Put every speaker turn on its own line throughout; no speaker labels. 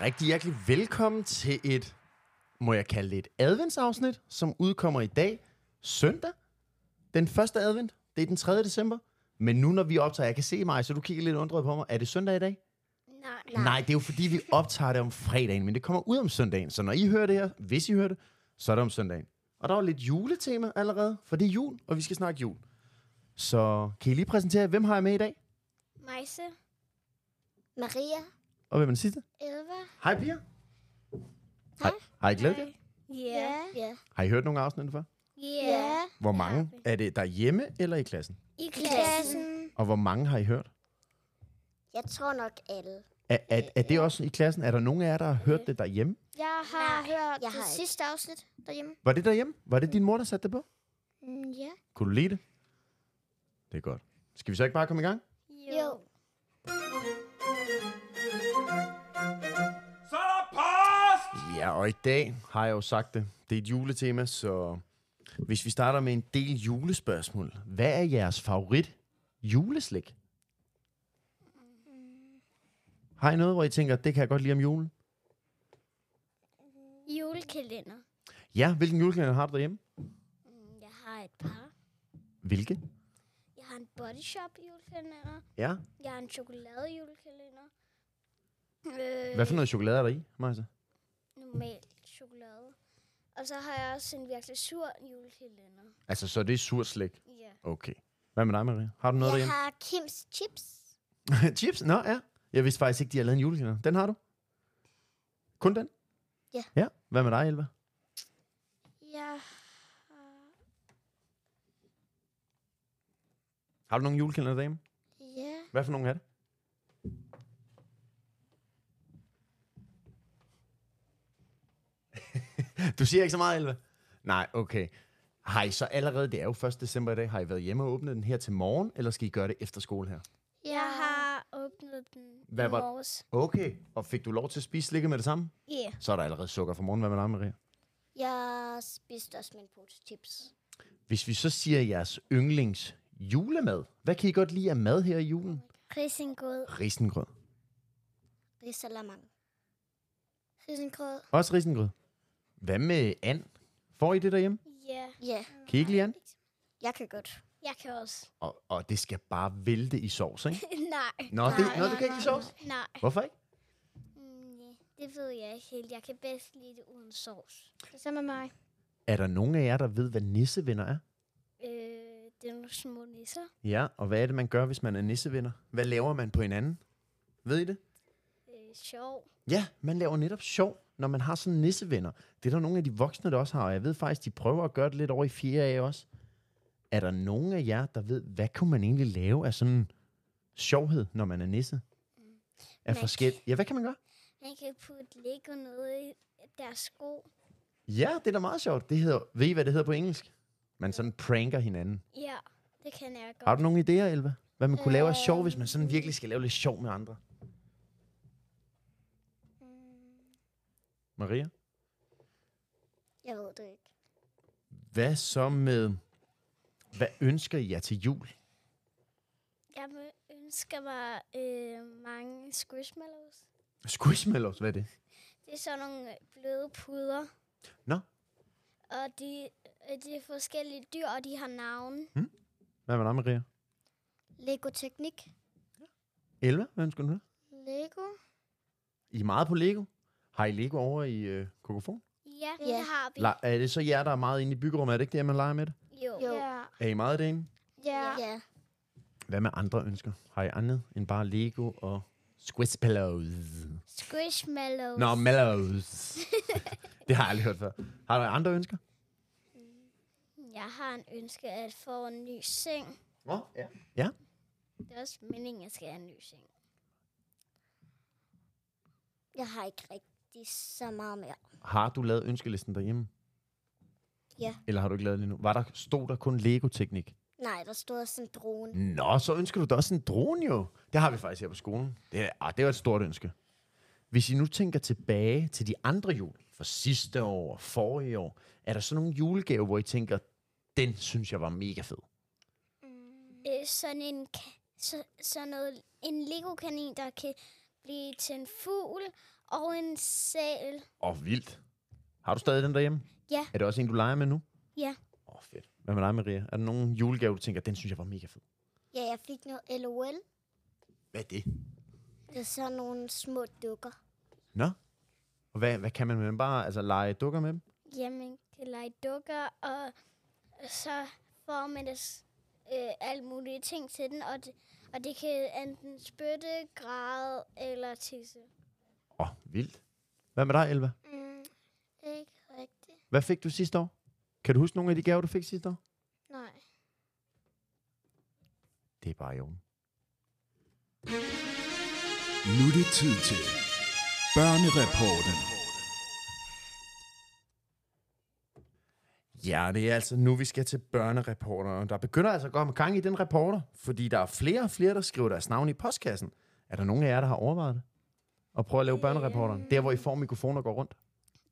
Rigtig hjertelig velkommen til et, må jeg kalde det et adventsafsnit, som udkommer i dag, søndag. Den første advent, det er den 3. december. Men nu når vi optager, jeg kan se mig, så du kigger lidt undret på mig. Er det søndag i dag?
Nej.
Nej, det er jo fordi, vi optager det om fredagen, men det kommer ud om søndagen. Så når I hører det her, hvis I hører det, så er det om søndagen. Og der er jo lidt juletema allerede, for det er jul, og vi skal snakke jul. Så kan I lige præsentere, hvem har jeg med i dag?
Majse. Maria.
Og hvem er den sidste?
Elva.
Hej piger. Hej. Har I glædet jer?
Ja. Ja.
Har I hørt nogle afsnit før?
Ja.
Hvor mange er det derhjemme eller i klassen?
I klassen.
Og hvor mange har I hørt?
Jeg tror nok alle.
Er, er, er det også i klassen? Er der nogen af jer, der har hørt det derhjemme?
Jeg har
Nej,
Nej,
jeg
hørt jeg
har
det
ikke.
sidste afsnit derhjemme.
Var det derhjemme? Var det din mor, der satte det på?
Mm, ja.
Kunne du lide det? Det er godt. Skal vi så ikke bare komme i gang?
Jo.
Ja, og i dag har jeg jo sagt det. Det er et juletema, så hvis vi starter med en del julespørgsmål. Hvad er jeres favorit juleslik? Har I noget, hvor I tænker, det kan jeg godt lide om julen?
Julekalender. Mm,
Ja, hvilken julekalender har du derhjemme?
Jeg har et par.
Hvilke?
Jeg har en body shop julekalender.
Ja.
Jeg har en chokolade julekalender. Øh,
Hvad for noget chokolade er der i, Martha?
Normal chokolade. Og så har jeg også en virkelig sur julekalender.
Altså, så det er surt slik.
Ja.
Okay. Hvad med dig, Maria? Har du noget
Jeg
derhjemme?
har Kims chips.
Chips? Nå, ja. Jeg vidste faktisk ikke, de har lavet en julekalender. Den har du? Kun den?
Ja.
Ja. Hvad med dig, Elva?
Jeg har...
Har du nogen julekalender derhjemme?
Ja.
Hvad for nogen er det? du siger ikke så meget, Elva? Nej, okay. Har I så allerede, det er jo 1. december i dag, har I været hjemme og åbnet den her til morgen, eller skal I gøre det efter skole her?
Jeg har...
åbnet den
Hvad
i
var-
morges.
Okay. Og fik du lov til at spise slikket med det samme?
Ja. Yeah.
Så er der allerede sukker for morgen. Hvad med dig, Maria?
Jeg spiste også min pose chips.
Hvis vi så siger jeres yndlings julemad, hvad kan I godt lide af mad her i julen?
Risengrød.
Risengrød.
Risalamang.
Risengrød.
Også risengrød. Hvad med and? Får I det derhjemme?
Ja.
Ja,
Kan I ikke lide and?
jeg kan godt.
Jeg kan også.
Og, og det skal bare vælte i sovs, ikke?
nej.
Nå, det, nå, du kan ikke lide sovs?
Nej.
Hvorfor ikke?
Mm, det ved jeg ikke helt. Jeg kan bedst lide det uden sovs.
Det samme med mig.
Er der nogen af jer, der ved, hvad nissevenner er?
Øh, det er nogle små nisser.
Ja, og hvad er det, man gør, hvis man er nissevenner? Hvad laver man på hinanden? Ved I det?
Øh, sjov.
Ja, man laver netop sjov, når man har sådan nissevenner. Det er der nogle af de voksne, der også har, og jeg ved faktisk, de prøver at gøre det lidt over i 4 af også. Er der nogen af jer, der ved, hvad kunne man egentlig lave af sådan sjovhed, når man er nisse? Af
Man-
forskel... Ja, hvad kan man gøre?
Man kan putte Lego noget i deres sko.
Ja, det er da meget sjovt. Det hedder, ved I, hvad det hedder på engelsk? Man sådan pranker hinanden.
Ja, det kan jeg godt.
Har du nogle idéer, Elva? Hvad man kunne lave af sjov, hvis man sådan virkelig skal lave lidt sjov med andre?
Mm,
Maria?
Jeg ved det ikke.
Hvad så med... Hvad ønsker I jer til jul?
Jeg må- ønsker mig øh, mange squishmallows.
Squishmallows, hvad er det?
Det er sådan nogle øh, bløde puder.
Nå.
Og de, øh, de er forskellige dyr, og de har navne.
Hvad med dig, Maria?
Lego teknik.
Elva, hvad ønsker du?
Lego.
I er meget på Lego. Har I Lego over i øh, kokofon?
Ja,
Ja.
det har vi.
Le- er det så jer, der er meget inde i byggerummet? Er det ikke det, at man leger med det?
Jo.
Jo.
Ja.
Ja.
Er I meget derinde?
Ja.
Ja.
ja.
Hvad med andre ønsker? Har I andet end bare Lego og Squishmallows?
Squishmallows.
Nå, mallows. det har jeg aldrig hørt før. Har du andre ønsker?
Jeg har en ønske at få en ny seng.
Nå, ja. Ja,
Det er også meningen, at jeg skal have en ny seng.
Jeg har ikke rigtig så meget mere.
Har du lavet ønskelisten derhjemme?
Ja.
Eller har du ikke lavet det nu? Var der, stod der kun Lego-teknik?
Nej, der stod også en drone.
Nå, så ønsker du da også en drone jo. Det har vi faktisk her på skolen. Det, er, ah, det var et stort ønske. Hvis I nu tænker tilbage til de andre jul, for sidste år og forrige år, er der så nogle julegave, hvor I tænker, den synes jeg var mega fed?
Mm. Øh, sådan en ka- så, sådan noget, en Lego-kanin, der kan blive til en fugl og en sæl.
Åh, oh, vildt. Har du stadig den derhjemme?
Ja.
Er det også en, du leger med nu?
Ja.
Åh, oh, fedt. Hvad med dig, Maria? Er der nogen julegave, du tænker, den synes jeg var mega fed?
Ja, jeg fik noget LOL.
Hvad er det?
Det er sådan nogle små dukker.
Nå. Og hvad, hvad kan man med dem? Bare altså, lege dukker med dem?
Jamen, kan lege dukker, og så får man des, øh, alle mulige ting til den, og det, og det kan enten spytte, græde eller tisse.
Åh, oh, vildt. Hvad med dig, Elva?
Mm, det er ikke rigtigt.
Hvad fik du sidste år? Kan du huske nogle af de gaver, du fik sidste år?
Nej.
Det er bare i orden.
Nu er det tid til Børnereporten.
Ja, det er altså nu, vi skal til børnereporteren. Der begynder altså at gå med gang i den reporter, fordi der er flere og flere, der skriver deres navn i postkassen. Er der nogen af jer, der har overvejet det? Og prøve at lave børnereporteren. Der, hvor I får mikrofoner og går rundt.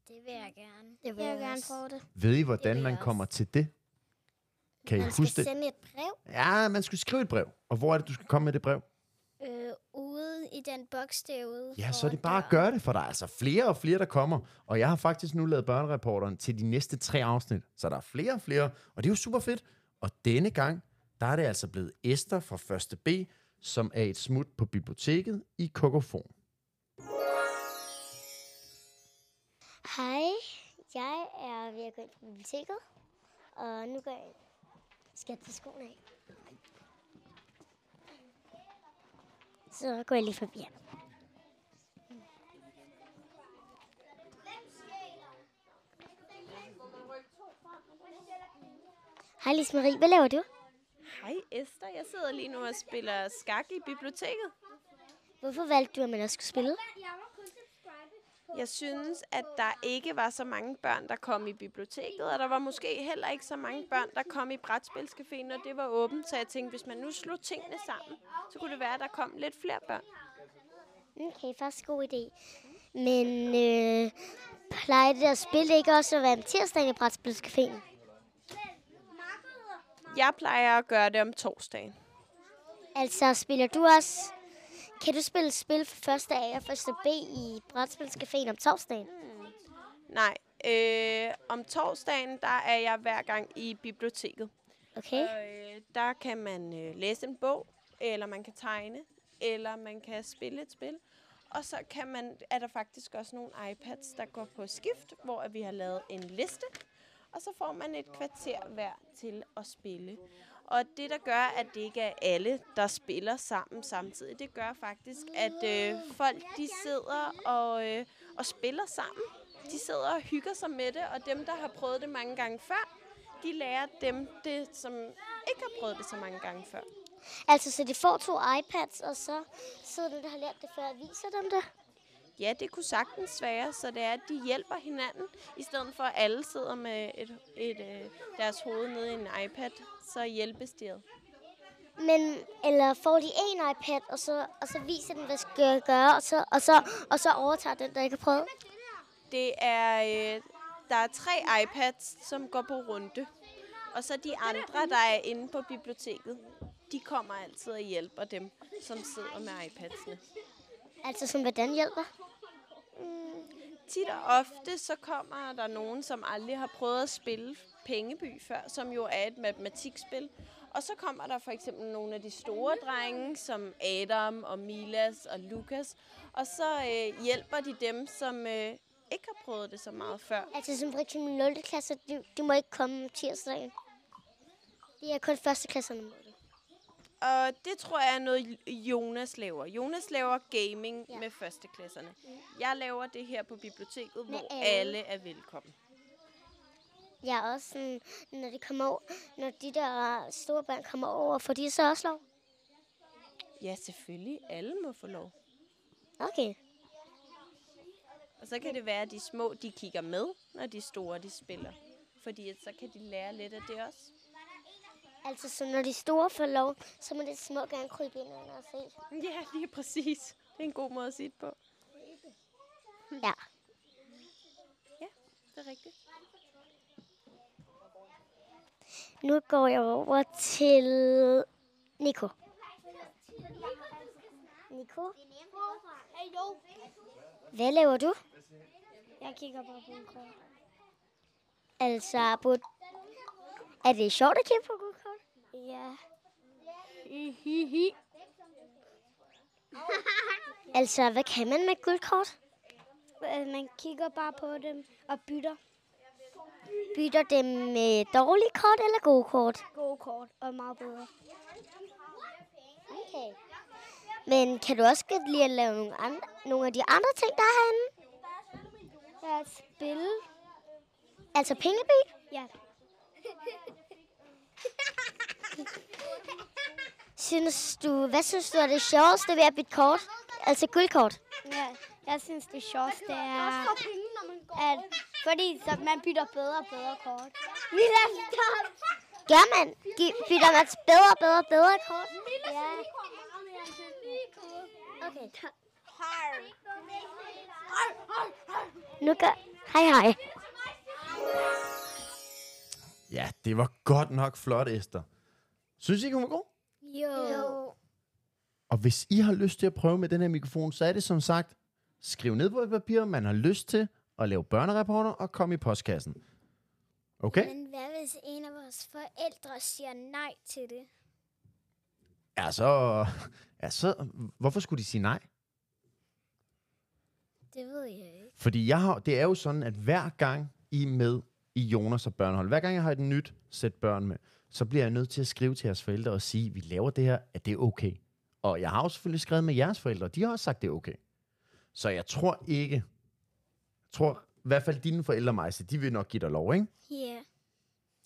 Det vil jeg gerne.
Det
Jeg vil gerne
også.
prøve det.
Ved I,
Det
hvordan
vil
man
jeg
kommer til det? Kan I
Man
huske
skal
det?
sende et brev.
Ja, man skulle skrive et brev. Og hvor er det, du skal komme med det brev?
Øh, ude i den boks derude.
Ja, så er det
foran
bare at
døren.
gøre det, for der er altså flere og flere, der kommer. Og jeg har faktisk nu lavet børnereporteren til de næste tre afsnit, så der er flere og flere, og det er jo super fedt. Og denne gang, der er det altså blevet Esther fra 1. B, som er et smut på biblioteket i Kokofon.
Hej, jeg er ved at gå ind på biblioteket, og nu går jeg ind. Skal jeg tage skoene af? Så går jeg lige forbi ham. Hej Lise Marie, hvad laver du?
Hej Esther, jeg sidder lige nu og spiller skak i biblioteket.
Hvorfor valgte du, at man også skulle spille?
Jeg synes, at der ikke var så mange børn, der kom i biblioteket, og der var måske heller ikke så mange børn, der kom i brætspilscaféen, når det var åbent. Så jeg tænkte, hvis man nu slog tingene sammen, så kunne det være, at der kom lidt flere børn.
Okay, faktisk god idé. Men øh, plejer det der spil ikke også at være om tirsdagen i Brætspilscaféen?
Jeg plejer at gøre det om torsdagen.
Altså, spiller du også... Kan du spille spil for 1. A og 1. B i Brætspilscaféen om torsdagen?
Nej, øh, om torsdagen, der er jeg hver gang i biblioteket.
Okay.
Og, øh, der kan man øh, læse en bog, eller man kan tegne, eller man kan spille et spil. Og så kan man, er der faktisk også nogle iPads, der går på skift, hvor at vi har lavet en liste. Og så får man et kvarter hver til at spille. Og det, der gør, at det ikke er alle, der spiller sammen samtidig, det gør faktisk, at øh, folk de sidder og, øh, og spiller sammen. De sidder og hygger sig med det, og dem, der har prøvet det mange gange før, de lærer dem det, som ikke har prøvet det så mange gange før.
Altså, så de får to iPads, og så sidder dem, der har lært det før, og viser dem det.
Ja, det kunne sagtens være, så det er, at de hjælper hinanden, i stedet for at alle sidder med et, et, øh, deres hoved nede i en iPad, så hjælpes de ad.
Men, eller får de en iPad, og så, og så viser den, hvad skal gøre, og så, og, så, og så overtager den, der ikke har prøvet.
Det er, øh, der er tre iPads, som går på runde. Og så de andre, der er inde på biblioteket, de kommer altid og hjælper dem, som sidder med iPadsene.
Altså, som hvordan hjælper?
Tit og ofte, så kommer der nogen, som aldrig har prøvet at spille Pengeby før, som jo er et matematikspil. Og så kommer der for eksempel nogle af de store drenge, som Adam og Milas og Lukas. Og så øh, hjælper de dem, som øh, ikke har prøvet det så meget før.
Altså, som for eksempel 0. klasse, de, de må ikke komme om tirsdagen. Det er kun 1. klasserne, må det.
Og det tror jeg er noget, Jonas laver. Jonas laver gaming ja. med førsteklasserne. Jeg laver det her på biblioteket, hvor
alle.
alle er velkommen.
Jeg er også sådan, når, de kommer over, når de der store børn kommer over, får de så også lov?
Ja, selvfølgelig. Alle må få lov.
Okay.
Og så kan det være, at de små de kigger med, når de store de spiller. Fordi at så kan de lære lidt af det også.
Altså, så når de store får lov, så må det små gerne krybe ind under og se.
Ja, lige præcis. Det er en god måde at sige det på.
Ja.
Ja, det er rigtigt.
Nu går jeg over til Nico. Nico? Hvad laver du?
Jeg kigger bare på en kort.
Altså, på... er det sjovt at kigge på guldkort?
Ja.
Altså, hvad kan man med guldkort?
Øh, Man kigger bare på dem og bytter
Bytter dem med dårlige kort eller gode kort?
gode kort og meget bedre.
Okay. Men kan du også godt lide at lave nogle, andre, nogle af de andre ting, der er herinde?
Jeg spille.
Altså pengeby?
Ja.
Synes du, hvad synes du er det sjoveste ved at bytte kort? Altså guldkort?
Ja, jeg synes, det sjoveste er, at fordi så man bytter bedre og bedre kort. Mila, stop!
Gør man? Gi- bytter man bedre, bedre, bedre kort?
Ja.
Okay. Nu gør... Hej, hej.
Ja, det var godt nok flot, Esther. Synes I, ikke, hun var god?
Jo.
Og hvis I har lyst til at prøve med den her mikrofon, så er det som sagt, skriv ned på et papir, man har lyst til at lave børnereporter og kom i postkassen. Okay?
Men hvad hvis en af vores forældre siger nej til det?
Ja, så... Ja, så... Hvorfor skulle de sige nej?
Det ved jeg ikke.
Fordi jeg har, det er jo sådan, at hver gang I er med i Jonas og Børnehold, hver gang jeg har et nyt sæt børn med, så bliver jeg nødt til at skrive til jeres forældre og sige, vi laver det her, at det er okay. Og jeg har jo selvfølgelig skrevet med jeres forældre, og de har også sagt, det er okay. Så jeg tror ikke, jeg tror i hvert fald dine forældre, Majse, de vil nok give dig lov, ikke?
Ja. Jeg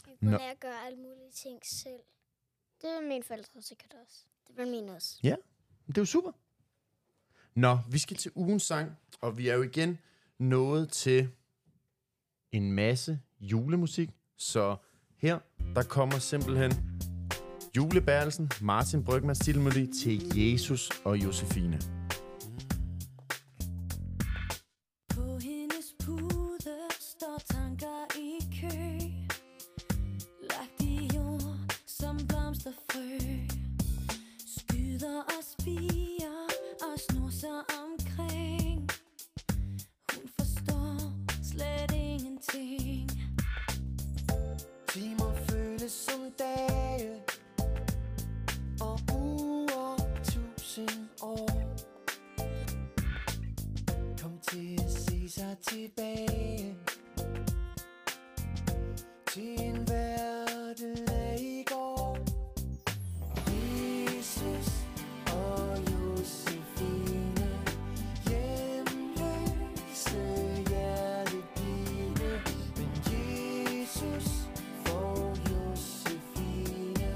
Nå.
kunne lære at gøre alle mulige ting selv. Det vil mine forældre sikkert også. Det vil mine også.
Ja, det er jo super. Nå, vi skal til ugens sang, og vi er jo igen nået til en masse julemusik. Så her, der kommer simpelthen julebærelsen, Martin Brygmans titelmelodi til Jesus og Josefine.
På hendes pude står tanker i kø Lagt i jord som blomsterfrø Skyder og spiger og snuser omkring Hun forstår slet ingenting
Timer føles som dage Og uger tusind år Kom til at se sig tilbage Til en verden af i går Jesus og Josefine Hjemløse hjertepine Men Jesus får Josefine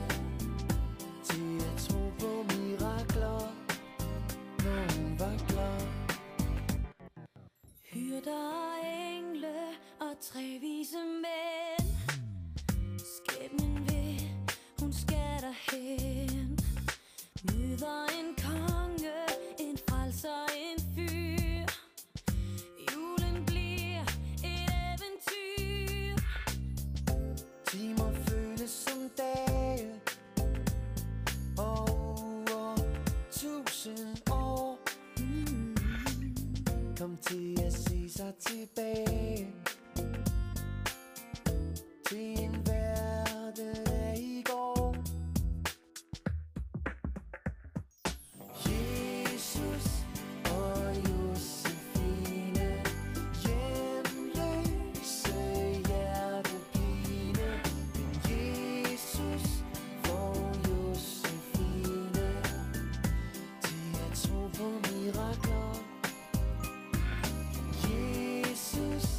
Til at tro på mirakler Når hun var klar
Hyrder og engle og tre vise mænd Skæbnen ved, hun skal derhen Møder en konge, en frelser, en fyr Julen bliver et eventyr
Timer føles som dage Og uger tusind år Mm. Kom til at se sig tilbage Til en verden af i går Jesus og Josefine Hjemløse hjertepine Men Jesus får Josefine Til at tro på mirakler Jesus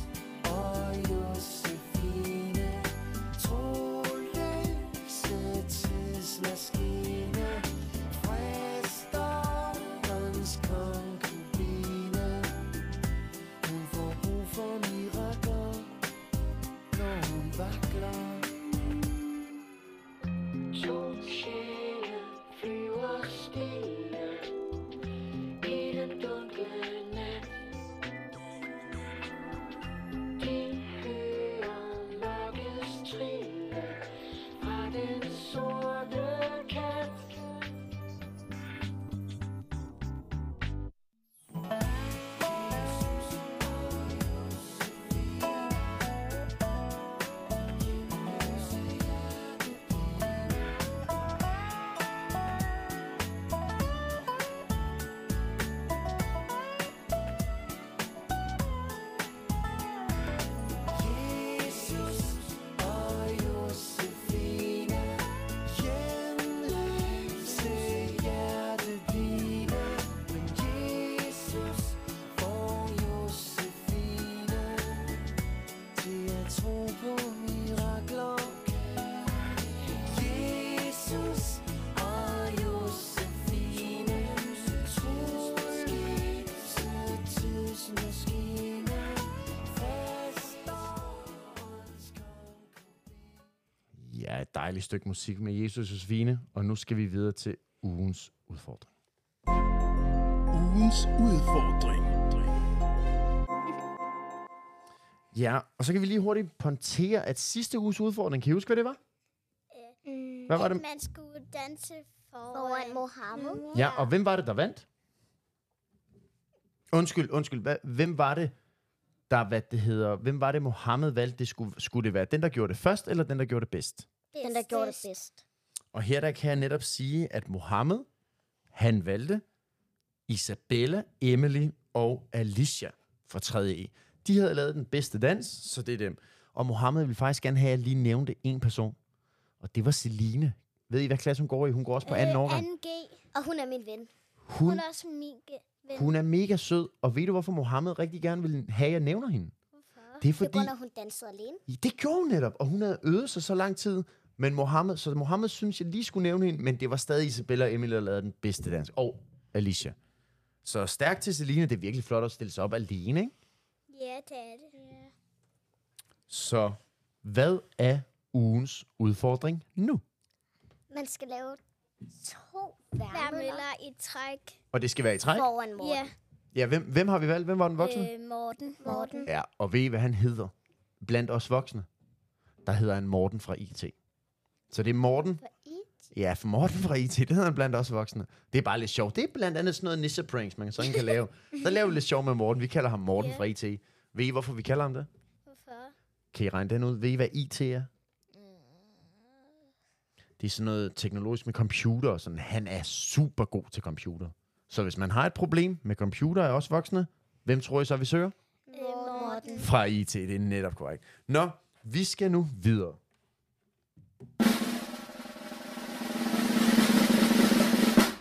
dejligt stykke musik med Jesus Josefine, og nu skal vi videre til ugens udfordring.
Ugens udfordring.
Ja, og så kan vi lige hurtigt pontere, at sidste uges udfordring, kan I huske, hvad det var?
Mm.
Hvad var det?
At man skulle danse foran,
Foran Mohammed.
Ja, og hvem var det, der vandt? Undskyld, undskyld. Hvad, hvem var det, der, hvad det hedder, hvem var det, Mohammed valgte? Det skulle, skulle det være den, der gjorde det først, eller den, der gjorde det bedst?
Den, der gjorde det bedst.
Og her der kan jeg netop sige, at Mohammed, han valgte Isabella, Emily og Alicia fra 3E. De havde lavet den bedste dans, så det er dem. Og Mohammed ville faktisk gerne have, at jeg lige nævnte en person. Og det var Celine. Ved I, hvad klasse hun går i? Hun går også på
Øh,
anden årgang.
2G.
Og hun er min ven.
Hun er også min ge- ven.
Hun er mega sød, og ved du, hvorfor Mohammed rigtig gerne vil have, at jeg nævner hende? Hvorfor? Det er
Det
fordi,
var, når hun dansede alene.
det gjorde hun netop, og hun havde øvet sig så lang tid. Men Mohammed, så Mohammed synes, jeg lige skulle nævne hende, men det var stadig Isabella og Emil, der lavede den bedste dans. Og Alicia. Så stærkt til Selina, det er virkelig flot at stille sig op alene, ikke?
Ja, det er det. Ja.
Så hvad er ugens udfordring nu?
Man skal lave to
Hver
værmøller
møller i træk.
Og det skal være i træk.
foran Morten.
Ja,
Ja, hvem, hvem har vi valgt? Hvem var den voksne?
øh, Morten.
Morten.
Ja, og ved I, hvad han hedder? Blandt os voksne, der hedder han Morten fra IT. Så det er Morten. Fra IT? Ja, for Morten fra IT, det hedder han blandt os voksne. Det er bare lidt sjovt. Det er blandt andet sådan noget nisse-pranks, man sådan kan lave. Så laver vi lidt sjov med Morten. Vi kalder ham Morten yeah. fra IT. Ved I, hvorfor vi kalder ham det?
Hvorfor?
Kan I regne den ud? Ved I, hvad IT er? Det er sådan noget teknologisk med computer. og Sådan, han er super god til computer. Så hvis man har et problem med computer og også voksne, hvem tror I så, vi søger?
Øh, Morten.
Fra IT, det er netop korrekt. Nå, vi skal nu videre.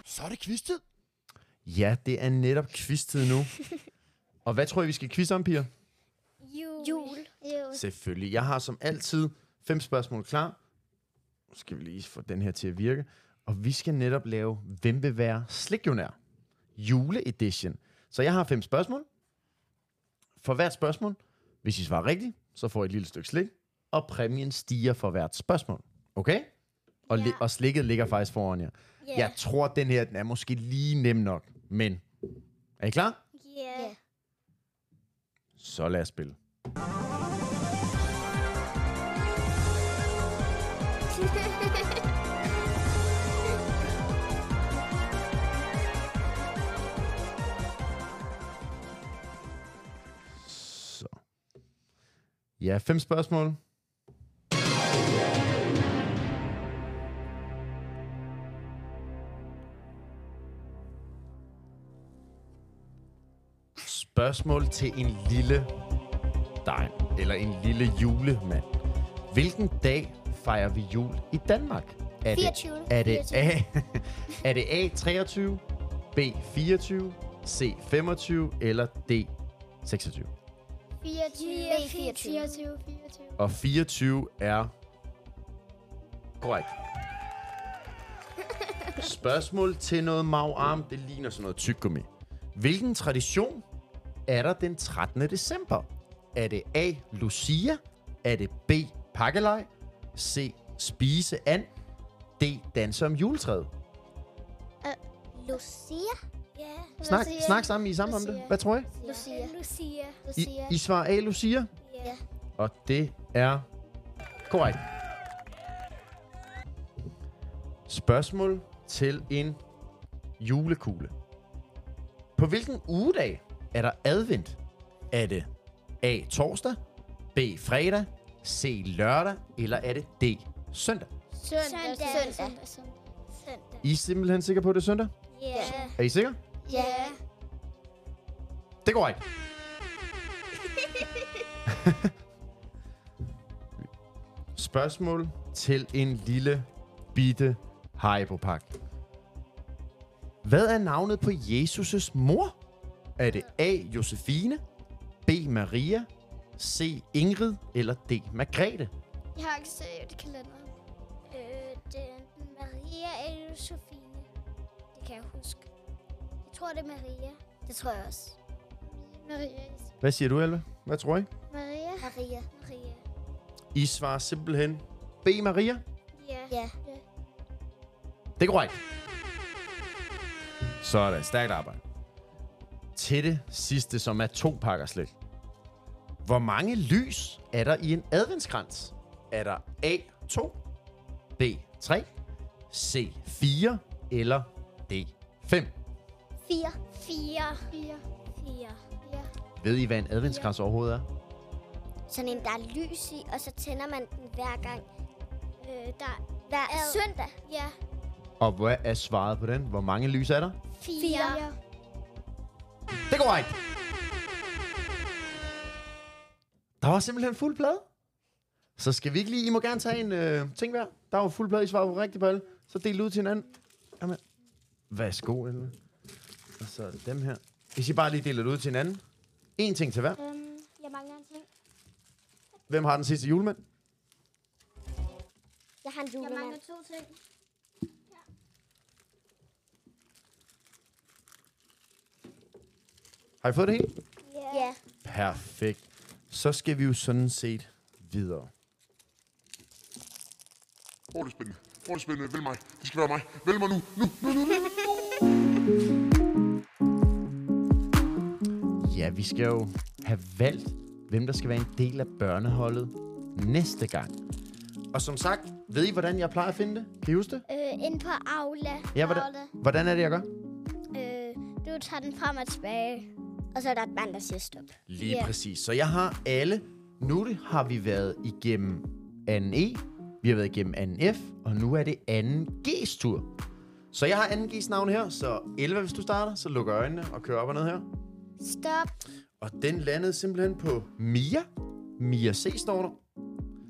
Så er det quiztid. Ja, det er netop quiztid nu. Og hvad tror I, vi skal quizze om, piger?
Jul.
Jul.
Selvfølgelig. Jeg har som altid fem spørgsmål klar. Nu skal vi lige få den her til at virke. Og vi skal netop lave Hvem vil være slikjonær? Juleedition. Så jeg har fem spørgsmål. For hvert spørgsmål, hvis I svarer rigtigt, så får I et lille stykke slik. Og præmien stiger for hvert spørgsmål. Okay? Og, ja.
Ja.
og slikket ligger faktisk foran jer.
Ja.
Jeg tror, den her den er måske lige nem nok. Men er I klar?
Ja.
Ja.
Så lad os spille. Så. Ja, fem spørgsmål. Spørgsmål til en lille dig, eller en lille julemand. Hvilken dag fejrer vi jul i Danmark? Er
24.
Det, er, det A, er det A, 23, B, 24, C, 25 eller D, 26?
24. 24.
Og 24 er korrekt. Spørgsmål til noget magarm. Det ligner sådan noget tyggegummi. Hvilken tradition er der den 13. december? Er det A. Lucia? Er det B. Pakkelej? C. Spise and? D. Danse om juletræet?
Lucia.
ja.
Snak, snak sammen, I er sammen om det.
Lucia.
Hvad tror I?
Lucia.
Lucia.
I,
Lucia.
I svarer A. Lucia?
Ja.
Og det er korrekt. Spørgsmål til en julekugle. På hvilken ugedag er der advent? Er det A. torsdag, B. fredag, C. lørdag, eller er det D. søndag?
Søndag. Søndag. Søndag.
I er simpelthen sikre på, at det er søndag?
Ja.
Er I sikre?
Ja.
Det går ikke. Spørgsmål til en lille bitte Haribo-pak. Hvad er navnet på Jesus' mor? Er det A. Josefine, B. Maria, C. Ingrid eller D. Margrethe?
Jeg har ikke set kalenderen.
Øh, det er enten Maria eller Sofine. Det kan jeg huske. Jeg tror, det er Maria.
Det tror jeg også.
Maria.
Hvad siger du, Elva? Hvad tror I?
Maria.
Maria.
Maria.
I svarer simpelthen B. Maria.
Ja.
Ja.
Det er korrekt.
Så er det stærkt arbejde.
Til det sidste, som er to pakker slik. Hvor mange lys er der i en adventskrans? Er der A2, B3, C4 eller D5?
Fire.
Fire. Fire. Fire.
Ved I, hvad en adventskrans overhovedet er?
Sådan en, der er lys i, og så tænder man den hver gang.
Øh, der
Hver
Ad.
søndag.
ja.
Og hvad er svaret på den? Hvor mange lys er der?
Fire.
Fire.
Det går ikke. Der var simpelthen fuld plade. Så skal vi ikke lige... I må gerne tage en øh, ting hver. Der var fuld plade, I svarede på rigtigt på alle. Så del ud til hinanden. Jamen. Værsgo, Elva. Og så dem her. Hvis I bare lige deler det ud til hinanden. En ting til hver.
Øhm, jeg mangler en ting.
Hvem har den sidste julemand?
Jeg har en
Jeg mangler
julemand.
to ting.
Har I fået det hele?
Ja.
Perfekt. Så skal vi jo sådan set videre.
Hvor er det spændende? Hvor er det spændende? Vælg mig. Det skal være mig. Vælg mig nu. Nu.
Ja, vi skal jo have valgt, hvem der skal være en del af børneholdet næste gang. Og som sagt, ved I, hvordan jeg plejer at finde det? Kan I huske det?
Øh, ind på Aula.
Ja, hvordan, hvordan er det, jeg gør?
Øh, du tager den frem og tilbage.
Og så er der et mand, der siger stop.
Lige
Ja.
præcis. Så jeg har alle. Nu det har vi været igennem 2. E, vi har været igennem 2. F, og nu er det 2. G's tur. Så jeg har 2. G's navn her, så Elva, hvis du starter, så luk øjnene og kør op og ned her.
Stop.
Og den landede simpelthen på Mia. Mia C står der.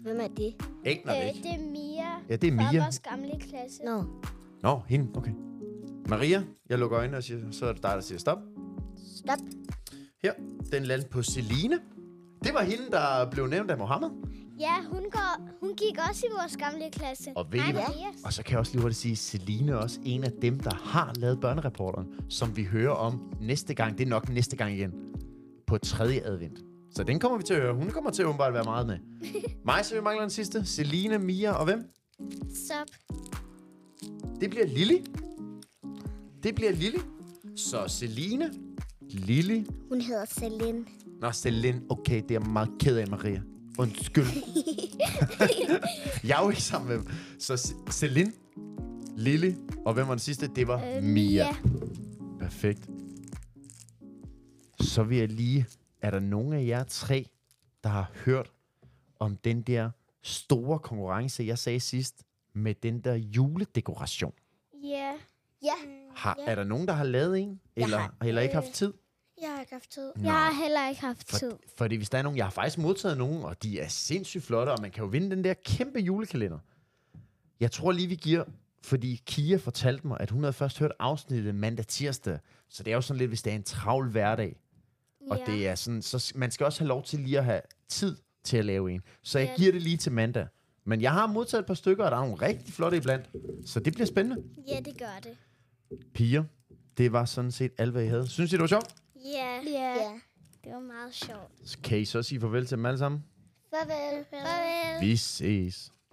Hvem er det?
Aner det
Øh,
ikke.
det er Mia.
Ja, det er
Fra
Mia.
vores gamle klasse.
Nå.
Nå, hende, okay. Maria, jeg lukker øjnene og siger, så er det dig, der siger stop.
Stop.
Her, den landede på Celine. Det var hende, der blev nævnt af Mohammed.
Ja, hun, går, hun gik også i vores gamle klasse.
Og ved I hvad?
Yes.
Og så kan jeg også lige hurtigt sige, at Celine er også en af dem, der har lavet børnereporteren, som vi hører om næste gang. Det er nok næste gang igen. På tredje advent. Så den kommer vi til at høre. Hun kommer til at åbenbart være meget med. Mig, så vi mangler den sidste. Celine, Mia og hvem?
Stop.
Det bliver Lili. Det bliver Lili. Så Celine, Lili,
Hun hedder Celine.
Nå, Celine, okay, det er jeg meget ked af, Maria. Undskyld. jeg er jo ikke sammen med dem. Så Ce- Celine, Lille, og hvem var den sidste? Det var øh, Mia. Perfekt. Så vil jeg lige... Er der nogen af jer tre, der har hørt om den der store konkurrence, jeg sagde sidst, med den der juledekoration?
Ja.
Ja.
Har, Er der nogen, der har lavet en? Eller,
har,
eller ikke haft tid?
Jeg har ikke haft tid.
Jeg har heller ikke haft
For,
tid.
fordi hvis der er nogen, jeg har faktisk modtaget nogen, og de er sindssygt flotte, og man kan jo vinde den der kæmpe julekalender. Jeg tror lige, vi giver, fordi Kia fortalte mig, at hun havde først hørt afsnittet mandag tirsdag, så det er jo sådan lidt, hvis det er en travl hverdag, og
ja.
det er sådan, så s- man skal også have lov til lige at have tid til at lave en. Så jeg
Ja.
giver det lige til mandag. Men jeg har modtaget et par stykker, og der er nogle rigtig flotte iblandt, så det bliver spændende.
ja, det gør det.
Piger, det var sådan set alt, hvad jeg havde. Synes I, det var sjovt?
Ja.
Ja.
Det var meget sjovt.
Kan I så sige farvel til dem alle sammen?
Farvel.
Farvel.
Vi ses.